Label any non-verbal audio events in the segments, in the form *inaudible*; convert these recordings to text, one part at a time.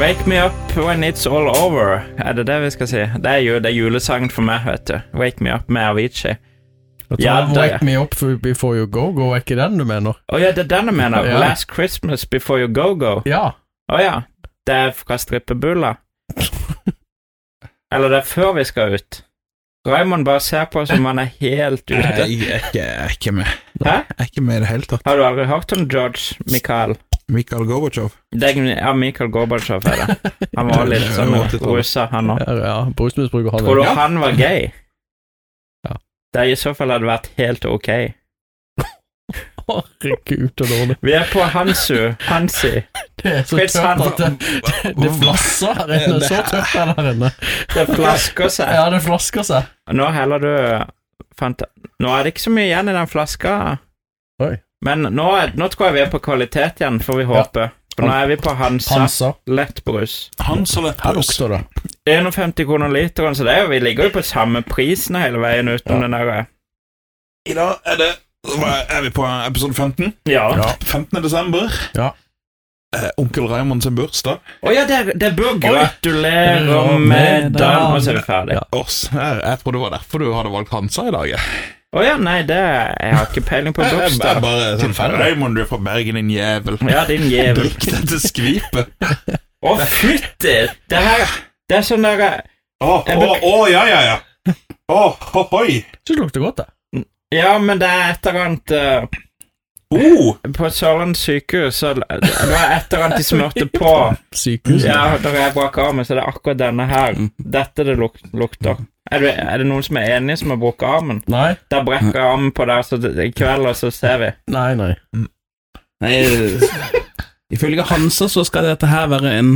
Wake me up when it's all over. Er det det vi skal si? Det er jo det er julesangen for meg, vet du. Wake me up med Avicii. Da tar Ja, jeg det- Wake Me Up Before You Go Go, er ikke den du mener? Å ja, det er den jeg mener. Ja. Last Christmas Before You Go Go. Ja. Å ja. Det er fra strippebula. Eller det er før vi skal ut. Raymond bare ser på som om han er helt Nei, ute. jeg er ikke, jeg er ikke med. Hæ? Jeg er ikke med i det hele tatt. Har du aldri hørt om George Michael? Mikhail Gorbatsjov. Det er, ja, Mikhail Gorbatsjov er det. Han var litt sånn rusa, han òg. Ja, ja. Brustmisbruker har Tror du det. han var gay? Ja. Det i så fall hadde vært helt ok. Herregud, så dårlig. Vi er på Hansu. Hansi. Det er så Chris, han- tørt at det, det, det flasser her inne. Så tørt er det her inne. Det flasker seg. Ja, det flasker seg. Nå heller du fanta... Nå er det ikke så mye igjen i den flaska. Oi. Men nå, er, nå tror jeg vi er på kvalitet igjen, får vi håpe. For nå er vi på Hansa Hansa. lettbrus. Han som lett Her lukter det. 51 kroner literen, så det er jo, vi ligger jo på samme prisen hele veien utenom den der eh. I dag er det hva er- Er vi på episode 15? Ja. Å ja. Ja. 15. desember. Ja. Eh, onkel Raymond sin bursdag. det, er- det bør Gratulerer gratulerer med med dagen, dagen. og så er vi ferdig. Ja. Ås, jeg, jeg tror det var derfor du hadde valgt Hansa i dag. jeg. Å ja, nei, det Jeg har ikke peiling *laughs* på Jeg, jeg, jeg bursdag. bare sånn, Tilfeldig. Raymond, du er fra Bergen, din jævel. Ja, din jævel. Drikk dette *laughs* skvipet. Å, fytti! Det her Det er sånn derre Å, å, å, ja, ja, ja. Å, ho, hoi. Syns det lukter godt, det. Ja, men det er et eller annet eh, Oh, På Sørlandet sykehus så det var et eller annet de smurte på. Sykehus. Ja, da jeg braka armen, så det er akkurat denne her. Dette det luk lukter. Er det, er det noen som er enige som har brukket armen? Nei, Da brekker jeg armen på der så det, i kveld, og så ser vi. nei, nei. Nei, ifølge Hansa så skal dette her være en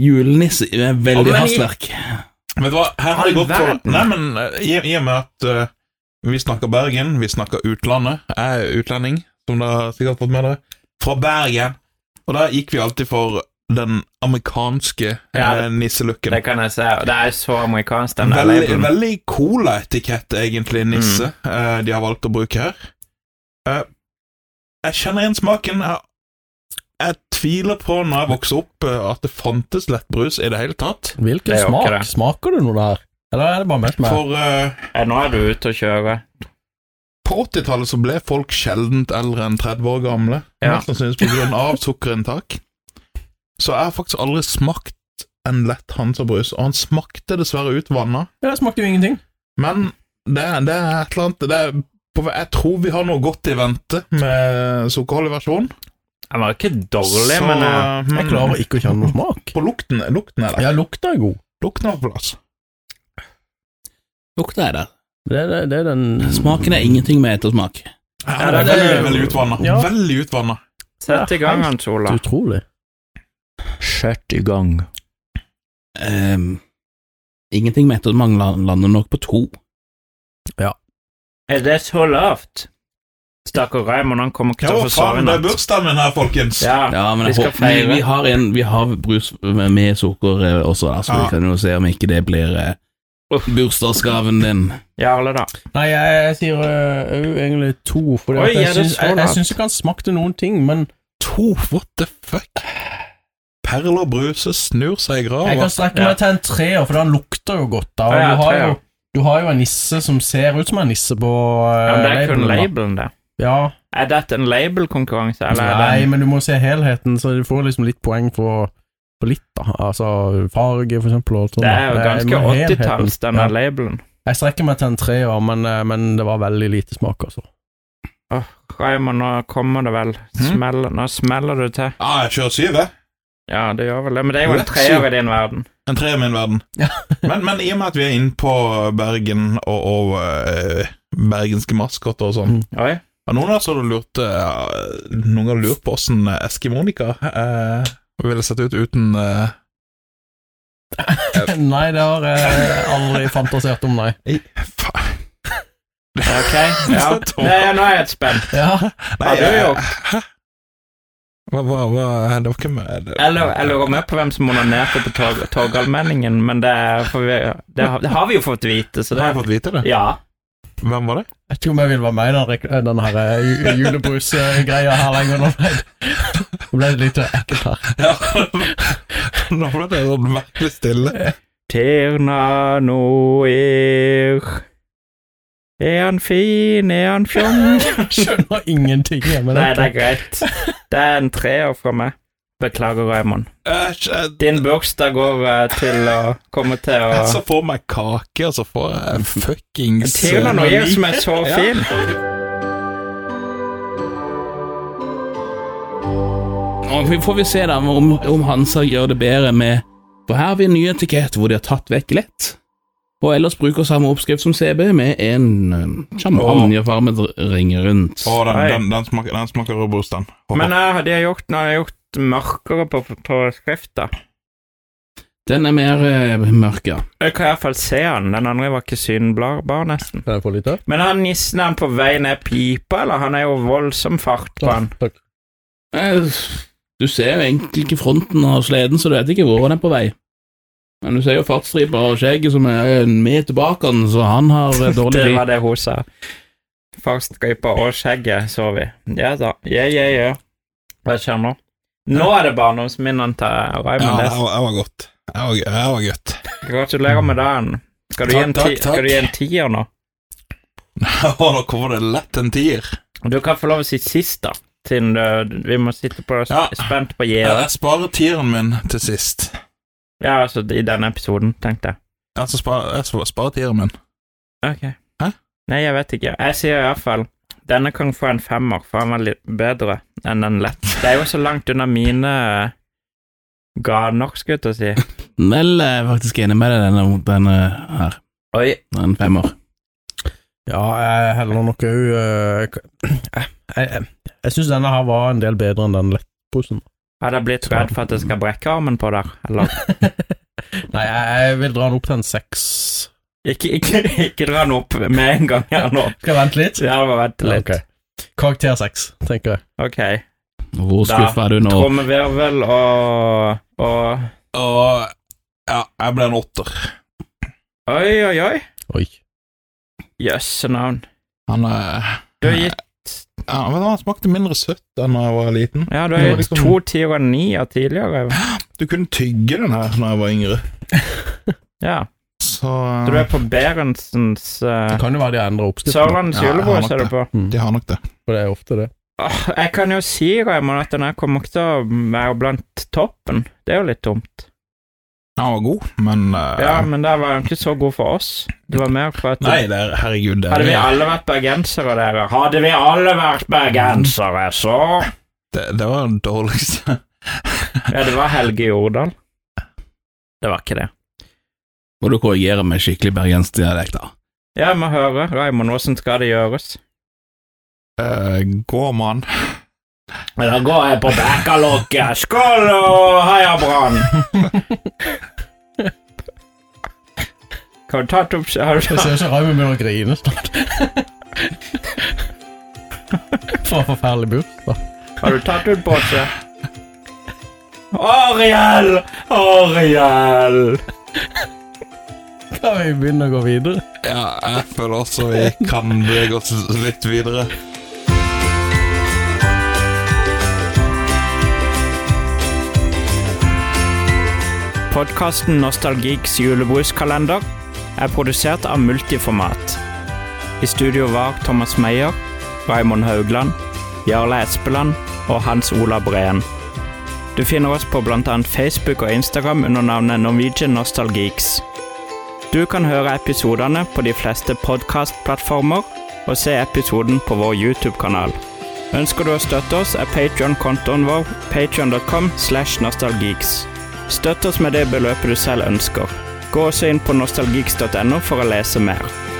julenisse med Å, veldig men- hastverk. vet du hva, her har det gått for All verden. Nei, men eh, i, i og med at eh, vi snakker Bergen, vi snakker utlandet. Jeg er utlending, som dere sikkert har fått med dere. Fra Bergen. Og da gikk vi alltid for den amerikanske Ja, eh, nisselooken. Det kan jeg se. Og det er så amerikansk, den der Veldig, labelen. Mm. veldig cola-etikett, egentlig, Nisse, eh, de har valgt å bruke her. Eh, jeg kjenner igjen smaken. Jeg, jeg tviler på, når jeg vokste opp, eh, at det fantes lettbrus i det hele tatt. Hvilken Det er jo ikke smak? det. Smaker det noe der? Eller er det bare mest meg? For eh, Ja, nå er du ute og kjører. på 80-tallet så ble folk sjeldent eldre enn 30 år gamle, Ja. mest sannsynligvis på grunn av sukkerinntak. Så jeg har faktisk aldri smakt en lett Hansa-brus, og han smakte dessverre ut vannet. Ja, det smakte jo ingenting. Men det, det er et eller annet det er på, Jeg tror vi har noe godt i vente med sukkerholdig versjon. Den var ikke dårlig, Så- men eh, Jeg klarer ikke å kjenne noe smak. På lukten, lukten er det. Ja, lukta er god. Lukten er på plass. Lukta er der. Det, er- det, er- det er den Smaken er ingenting med ettersmak. Ja, det er det er veldig- veldig, veldig utvanna. Ja. Veldig utvanna. sett i gang, Hans Ola. utrolig. Sett i gang. Ehm, ingenting med ettersmak lan- lander nok på to. Er det så lavt? Stakkar Raymond, han kommer ikke Ja, til å hva få sove i faen, det er natt. bursdagen min her, folkens! Ja, Ja, men vi jeg skal håper, vi, feire. vi, har en, vi har brus med, med sukker eh, også, da, så Ja. vi kan jo se om ikke det blir eh, bursdagsgaven din. Jarle, da. Nei, jeg, jeg sier øh, jo egentlig to, fordi Oi, at jeg, er sånn. det syns, så jeg, jeg lavt? syns ikke han smakte noen ting, men To, what the fuck? Perler Bruse snur seg i jeg grava. kan strekke meg til en treer, for han lukter jo godt. da, og Ja, ja, du har jo treer. du har jo en nisse som ser ut som en nisse på Ja, uh, men det er kun labelen, det. Ja. Er dette en labelkonkurranse, eller er det Nei, en men du må se helheten, så du får liksom litt poeng for, for litt, da. Altså farge, for eksempel. Og sånn, Det da. er jo Jeg- ganske jeg må helheten. 80-talls, den Ja. der labelen. Jeg strekker meg til en treer, men, eh, men det var veldig lite smak, altså. Åh, Raymond, nå kommer det vel smell, Nå smeller du til. Ja, Ah, jeg kjører syv, jeg. Ja, det gjør vel det, men det er jo en Let's treer see. i din verden. En tre i min verden. Ja. *laughs* men, men i og med at vi er inne på Bergen og, og eh, bergenske maskotter og sånn, Oi. Ja, noen av oss hadde lurt, eh, noen har lurt på åssen Eskimonika eh, ville sett ut uten eh, *laughs* *laughs* Nei, det har jeg aldri fantasert om, nei. ei, fa- *laughs* Ok, ja. Nei, ja, nå er jeg spent. Ja, Har du eh, gjort? Hva, hva, hva Det var ikke med det- Jeg lu- jeg lurer med på hvem som onanerte på Torg- Torgallmenningen, men det, får vi, det, har, det har vi jo fått vite, så Har jeg det fått vite det? Ja. Hvem var det? Jeg vet ikke om jeg vil være med i den, rek- den her eh, ju- julebrusgreia her lenger nå. Nå ble det litt eh, ekkelt her. Ja. Nå ble det sånn merkelig stille. Tirna noir. Er han fin, er han fjong? *laughs* *laughs* Skjønner ingenting. jeg, Men Nei, det det, er greit. Det er en treer fra meg. Beklager, Raymond. Jeg, jeg, Din bursdag går eh, til å komme til å jeg *laughs* så for meg kake, og så får jeg fuckings Tirna noir som er så Ja. fin. Og vi får vi se da om, om Hansa gjør det bedre med For her har vi en ny etikett hvor de har tatt vekk lett. Og ellers bruker samme oppskrift som CB, med en eh, champagnefarmet ring rundt. Å, den, Nei. den, den smaker, den smaker robust, den. Å, Men eh, de har gjort, nå har de gjort mørkere på, på skrifta. Den er mer eh, mørk, ja. Jeg kan i hvert fall se han. Den andre var ikke synbar, nesten. kan jeg få litt av? Men han nissen, er han på vei ned pipa, eller? Han er jo voldsom fart på han. Takk. Eh, Du ser jo egentlig ikke fronten av sleden, så du vet ikke hvor den er på vei. Men du ser jo fartsstripa og skjegget som er en meter bak han, så han *laughs* har eh, dårlig Det tid. var det hun sa. Fartsstripa og skjegget, så vi. Ja da. Ja, ja, ja. Hva skjer nå? Nå er det barndomsminnene til Ja, Raymond. det Næss. var, det var godt. Det var, det var godt. Gratulerer med dagen. Skal du, Takk, gi en takk, ti, skal takk. du gi en tier nå? *laughs* Å, nå kommer det lett en tier. Du kan få lov å si sist, da. Siden du, vi må sitte på, Ja. spent på gjerdet. Jeg sparer tieren min til sist. Ja, altså i denne episoden, tenkte jeg. Altså, sparer, jeg sp- sparer tieren min. Ok. Hæ? Nei, jeg vet ikke. Jeg sier iallfall denne kan få en femmer, for han var litt bedre enn den lett. Det er jo så langt unna mine eh, ga nok, skulle jeg til å si. Vel, jeg er faktisk enig med deg, denne, denne her. Oi. Den femmer. Ja, jeg heller nok òg Jeg, jeg, jeg syns denne her var en del bedre enn den lettposen. Hadde jeg blitt redd for at jeg skal brekke armen på der? Eller Nei, jeg, jeg vil dra den opp til en seks. *laughs* ikke, ikke, ikke dra den opp med en gang her nå. Skal jeg vente litt? *laughs* Ja, bare vent litt. Ok. Karakter seks, tenker jeg. Ok. Hvor Da skuffa er du nå? Trommevirvel og, og Og ja, jeg ble en åtter. Oi, oi, oi. Oi. Jøsse navn. Han er Du har gitt, ja, men Han smakte mindre søtt enn da jeg var liten. ja, du har Ja, gitt liksom- to tiere og nier tidligere. Du kunne tygge den her da jeg var yngre, Ja. så Så du er på Berentsens Det uh, kan jo være de har endra oppskriften, Sørlandets Ja, jeg har julebrus nok er du på. eh, De har nok det. for det er ofte det. Åh, jeg kan jo si, Raymond, at den her kommer ikke til å være blant toppen. Det er jo litt dumt. Han var god, men eh, Ja, men der var den ikke så god for oss. Det var mer for at Nei, det er, herregud, det Hadde vi er, alle vært bergensere, dere? Hadde vi alle vært bergensere, så det, det var den dårligste. *laughs* Ja, det var Helge Jordal. Det var ikke det. Må du korrigere med skikkelig bergensdialekt, da. Ja, jeg må høre, Raymond, hvordan skal det gjøres? Eh, Gå, mann. Da går jeg på Bækkalokket. Skål og heia Brann! Kan du ta et opp... Har du Jeg ser ikke Raymond begynner å grine snart. For en forferdelig bursdag. Har du tatt ut båse? Ariel! Ariel! Kan vi begynne å gå videre? Ja, jeg føler også vi kan bevege oss litt videre. Podkasten Nostalgiks julebruskalender er produsert av Multiformat. I studio var Thomas Meyer, Raymond Haugland, Jarle Espeland og Hans Ola Breen. Du finner oss på bl.a. Facebook og Instagram under navnet Norwegian Nostalgeeks. Du kan høre episodene på de fleste podkastplattformer og se episoden på vår YouTube-kanal. Ønsker du å støtte oss, er Patreon-kontoen vår patreon.com slash nostalgeeks. Støtt oss med det beløpet du selv ønsker. Gå også inn på nostalgeeks.no for å lese mer.